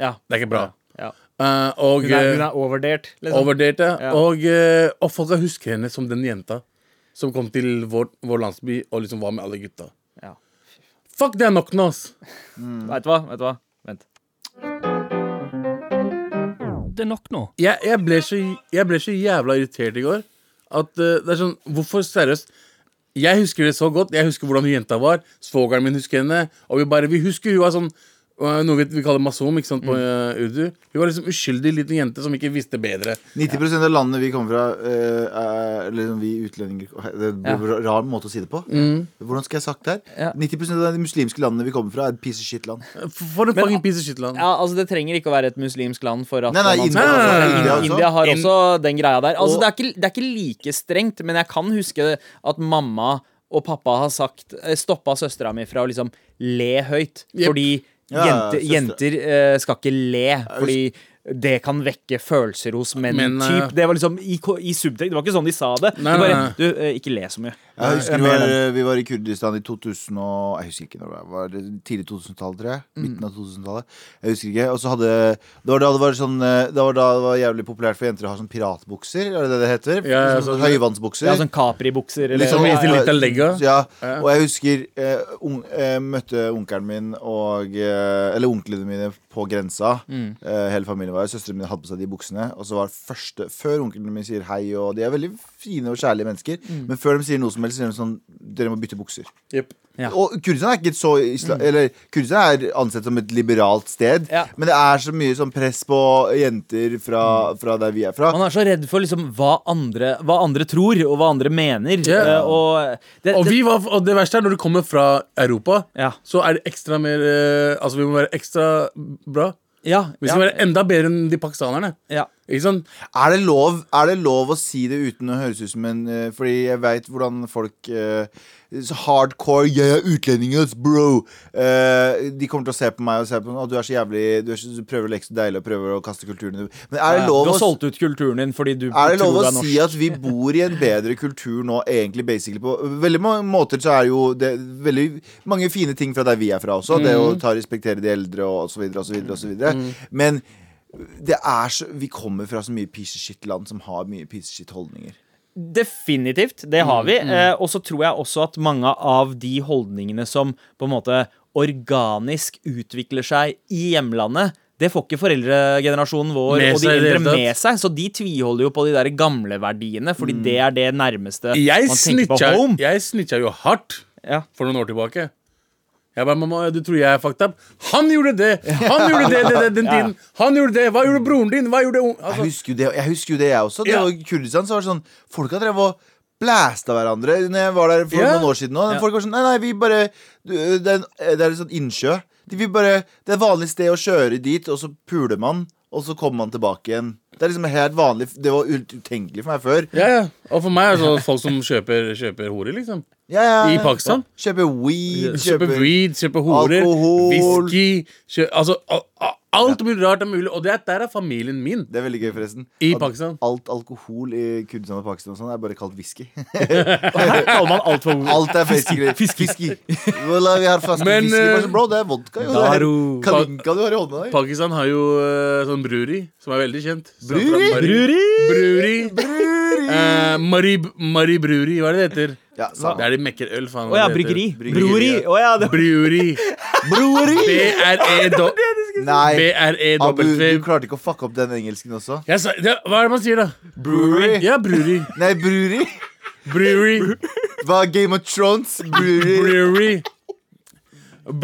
Ja.
Det er ikke bra.
Ja.
Eh, og
Hun, er, hun
eh,
er overdert, liksom.
overdate.
Ja.
Og, eh, og folka husker henne som den jenta som kom til vår, vår landsby og liksom var med alle gutta.
Ja.
Fuck, det er nok nå, ass!
Vet du hva? Vet du hva? Vent.
Det er nok nå.
Jeg, jeg, ble så, jeg ble så jævla irritert i går at eh, det er sånn Hvorfor seriøst? Jeg husker det så godt. Jeg husker hvordan hun jenta var. Svogeren min husker henne. Og vi bare, vi husker hun var sånn øh, noe vi, vi kaller masom ikke sant, på øh, urdu. Hun var liksom uskyldig liten jente som ikke visste bedre.
90 av landene vi kommer fra, eh, er liksom vi utlendinger Det blir en rar måte å si det på. Hvordan skal jeg sagt det her?
Ja.
90 av de muslimske landene vi kommer fra, er et piece of shit-land.
For for en fucking piece of shit land.
Ja, altså Det trenger ikke å være et muslimsk land for at
Nei, nei,
man
India,
Nei, nei, nei, nei.
India,
India,
også.
har
In-
også den greia der. Altså
Og-
det, er ikke, det er ikke like strengt, men jeg kan huske at mamma og pappa har sagt stoppa søstera mi fra å liksom le høyt.
Jep.
Fordi
Ja,
jenter,
søstre.
jenter eh, skal ikke le. Fordi det kan vekke følelser hos menn.
Men, eh,
typ. Det var liksom i, ko- i subtekst. Det var ikke sånn de sa det.
Nei,
de bare,
nei, nei.
Du, eh, ikke le så mye. Eh,
Jeg husker eh,
Jeg
vi var,
mener
vi var i Kurdistan i 2000 og Jeg husker ikke når det var. var det tidlig 2000-tall, tror jeg. Midten av 2000-tallet. Jeg husker ikke. Og så hadde Det var da det var sånn eh, Det var da det var jævlig populært for jenter å ha sånn piratbukser, er det det det heter?
Ja, ja,
sånn,
sånn-
høyvannsbukser.
Ja, sånn Capri-bukser. eller-
sånn
Liksom-
Ja,
til
ja.
litt av legga.
Ja, og jeg husker eh, un, eh, Møtte onkelen min og eh, Eller onklene mine på grensa.
Mm.
Eh, hele familien var her. Søstrene mine hadde på seg de buksene. Og så var det første Før onklene mine sier hei, og de er veldig fine og kjærlige mennesker,
Mm.
men før de sier noe som helst, sier de sånn Dere må bytte bukser.
Jep.
Ja. Mm.
Og Kurdistan er ikke så isla Eller Kurdistan er ansett som et liberalt sted,
Ja.
men det er så mye sånn press på jenter fra, fra der vi er fra.
Man er så redd for liksom hva andre, hva andre tror, og hva andre mener.
Ja.
eh, Og, det,
Og,
det,
vi var, og det verste er når du kommer fra Europa,
Ja.
så er det ekstra mer eh, Altså, vi må være ekstra bra.
ja,
Vi
ja,
skal være enda bedre enn de pakistanerne.
ja.
Ikke sant?
Er det, lov, er det lov å si det uten å høres ut som en eh, Fordi jeg veit hvordan folk eh, så Hardcore 'jeg er utlending, ass, bro'. Eh, de kommer til å se på meg og se på meg, at du er så jævlig Du, er så, du prøver å leke så deilig og prøver å kaste kulturen din». Men er det lov
Du
å
har solgt ut kulturen din fordi du
er det lov
tror
å
du er norsk.
si at vi bor i en bedre kultur nå, egentlig basically på Veldig mange måter så er jo det veldig mange fine ting fra der vi er fra også. Det
Mm.
å ta respektere de eldre og så videre og så videre. Og så videre. Men det er så, vi kommer fra så mye piece of shit-land som har mye piece of shit-holdninger.
Definitivt, det har vi. Eh, og så tror jeg også at mange av de holdningene som på en måte organisk utvikler seg i hjemlandet, Det får ikke foreldregenerasjonen vår
Med
og
seg
de
i det hele
eldre
tatt.
med seg, så de tviholder jo på de der gamle verdiene, fordi det er det nærmeste
Jeg
man tenker på
snitcha,
home.
jeg snitcha jo hardt
Ja.
for noen år tilbake. Jeg bare, mamma, du tror jeg er fucked up? Han gjorde det! Han gjorde det, det, det den
Ja, ja.
tiden! Han gjorde det! Hva gjorde broren din? Hva gjorde on-
Jeg
altså,
husker jo det, jeg, husker jo det, jeg også. Det
Ja.
var i Kurdistan så var det sånn Folka drev og blæsta hverandre Når jeg var der for
Ja.
noen år siden òg.
Ja.
Folk var sånn Nei, nei, vi bare du, Det er en det er et sånt innsjø. De, vi bare, det er et vanlig sted å kjøre dit, og så puler man, og så kommer man tilbake igjen. Det er liksom helt vanlig Det var ut- utenkelig for meg før.
Ja, ja. Og for meg er det sånn folk som kjøper, kjøper horer, liksom.
Ja, ja,
I
ja.
Pakistan.
Kjøper weed.
Kjøper weed, kjøper horer,
Alkohol.
whisky kjø- Altså, al- al- alt mulig rart er mulig. Og det er, der er familien min
Det er veldig gøy, forresten.
i
At
Pakistan.
Alt alkohol i Kurdistan og Pakistan og sånn er bare kalt whisky. <laughs>
Her kaller man alt for
Alt er fiskegreier. Fiski. Voilà, vi har flaske
Men,
whisky. Bare
eh,
sånn, Bro, det er vodka, jo.
Daru.
Det er Kalinka du har i hånda. der.
Pakistan har jo eh, sånn bruri, som er veldig kjent. Så fra
Bruri?
Mari- Bruri? Eh, Mari- Mari Bruri, hva er det det heter?
Ja,
Det er de mekker øl, faen.
Å
hva
ja,
det heter.
bryggeri. Brori.
ja.
Å ja, det
Bruri. E B-r-e-w.
<laughs> Nei.
B-r-e-w.
Abu, du klarte ikke å fucke opp den engelsken også?
E Jeg sa- ja, Hva er det man sier, da?
Brewery.
Ja, bruri.
Nei, brewery.
Brewery.
Hva Game of Thrones? Brewery.
Brewery.
Nei, nei,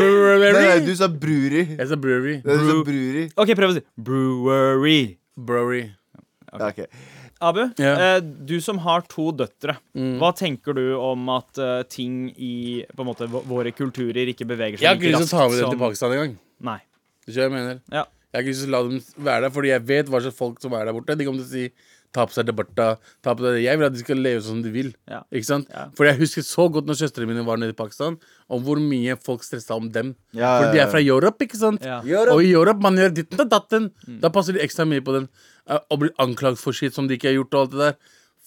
Brewery.
du sa brewery.
Jeg sa brewery.
Du sa brewery.
OK, prøv å si brewery.
Brewery.
Ja, ok.
Abu,
Ja. Mm.
eh, du som har to døtre, hva tenker du om at eh, ting i på en måte, vå- våre kulturer ikke beveger seg
Jeg har ikke lyst til å ta med det
som-
til Pakistan engang.
Nei.
Du skjønner hva jeg mener?
Ja.
Jeg har ikke lyst til å la dem være der, fordi jeg vet hva slags folk som er der borte. De kommer til å si ta på seg debatta, ta på seg det. Jeg vil at de skal leve sånn som de vil.
Ja.
Ikke sant?
Ja.
For jeg husker så godt når søstrene mine var nede i Pakistan, om hvor mye folk stressa om dem.
Ja,
For de
ja,
er fra Europe, ikke sant?
Ja. Mm.
Europe.
Og i Europe man gjør ditten og datten. Da passer de ekstra mye på den. Eh, Og blir anklagd for shit som de ikke har gjort, og alt det der.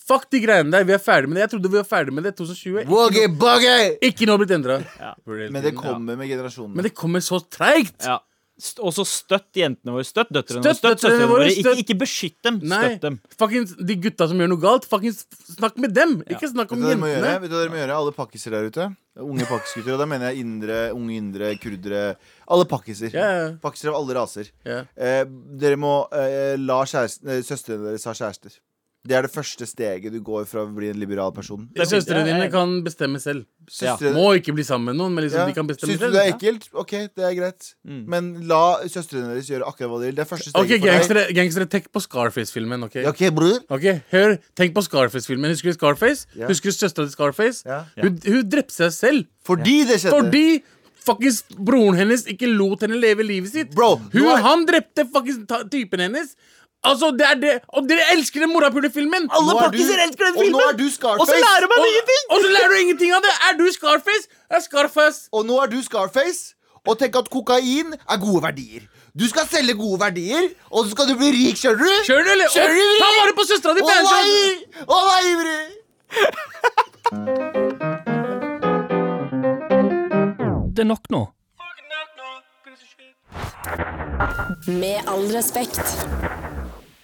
Fuck de greiene der. Vi er ferdig med det. Jeg trodde vi var ferdig med det i 2020.
Woogie boogie!
Ikke noe har blitt endra.
Ja.
Men det kommer med generasjonen.
Men det kommer så treigt.
Ja. St- Også støtt jentene våre. Støtt døtrene våre.
Støtt
Støtt
døtrene
søstrene
våre,
våre. Ikke,
støtt-
ikke beskytt dem.
Nei,
Støtt dem.
fucking de gutta som gjør noe galt, fucking snakk med dem! Ikke snakk
Vet
om
du hva dere må gjøre?
jentene.
Vet du hva dere må gjøre? Alle pakkiser der ute. Unge pakkisgutter. Og da mener jeg indre, unge indre, kurdere. Alle pakkiser.
Ja, ja.
Pakkiser av alle raser.
Ja.
Eh, dere må eh, la kjæresten, eh, søstrene deres ha kjærester. Det er det første steget du går fra å bli en liberal person.
Det er fint.
Søstrene
Ja, ja,
dine
ja.
kan bestemme selv.
Søstrene-
Må ikke bli sammen med noen, men liksom
Ja.
de kan bestemme
Syns
selv.
du det er ekkelt? Ok, det er greit. Men la søstrene deres gjøre akkurat hva de vil. Det er første steget
Ok,
for deg.
gangstere, gangstere, tenk på Scarface-filmen, OK?
Ja, Ok, bror.
Ok, Hør, tenk på Scarface-filmen. Husker du Scarface?
Ja.
Husker du søstera til Scarface?
Ja.
Hun, hun drepte seg selv
Fordi det skjedde.
fordi fuckings broren hennes ikke lot henne leve livet sitt.
Bro,
hun,
nå er-
Han drepte fuckings ta- typen hennes. Altså, det er det Og dere elsker den morapulefilmen!
Nå er du-
pakkiser elsker
Og
den
nå
filmen!
er du Scarface!
lærer man-
Og,
Men ingenting!
og så lærer du ingenting av det! Er du Scarface? Jeg er Scarface.
Og nå er du Scarface og tenk at kokain er gode verdier. Du skal selge gode verdier, og så skal du bli rik, skjønner du?
Kjør du, eller?
Kjør du,
Og ta vare på søstera di!
Å
Banjo!
nei! Å nei, bror!
Det er nok nå.
Med all respekt.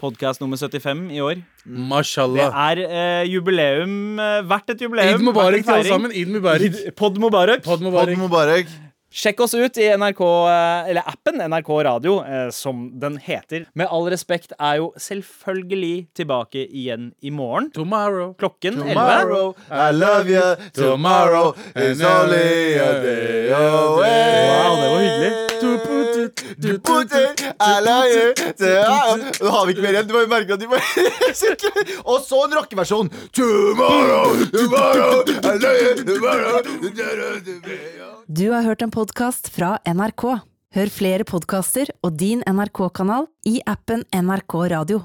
Podkast nummer 75 i år. Det
Mashallah.
er eh, jubileum. eh, Hvert et jubileum.
Eid Mubarak
hvert
til
en
alle
feiring.
sammen. Eid Mubarak.
Pod Mubarak.
Pod
Pod
Mubarak.
Mubarak.
Sjekk oss ut i NRK, eh, eller appen NRK Radio, eh, som den heter. Med all respekt er jo selvfølgelig tilbake igjen i morgen.
Tomorrow.
Klokken 11.
Tomorrow, I love you. Tomorrow is only a day away.
Wow, det var hyggelig.
Du put it, du put
Putin,
it.
I love you. Nå har vi ikke mer igjen. Du må <laughs> jo merke at de bare Og så en rockeversjon. Tomorrow, tomorrow, I love you, tomorrow.
Du har hørt en podkast fra NRK. Hør flere podkaster og din NRK-kanal i appen NRK Radio.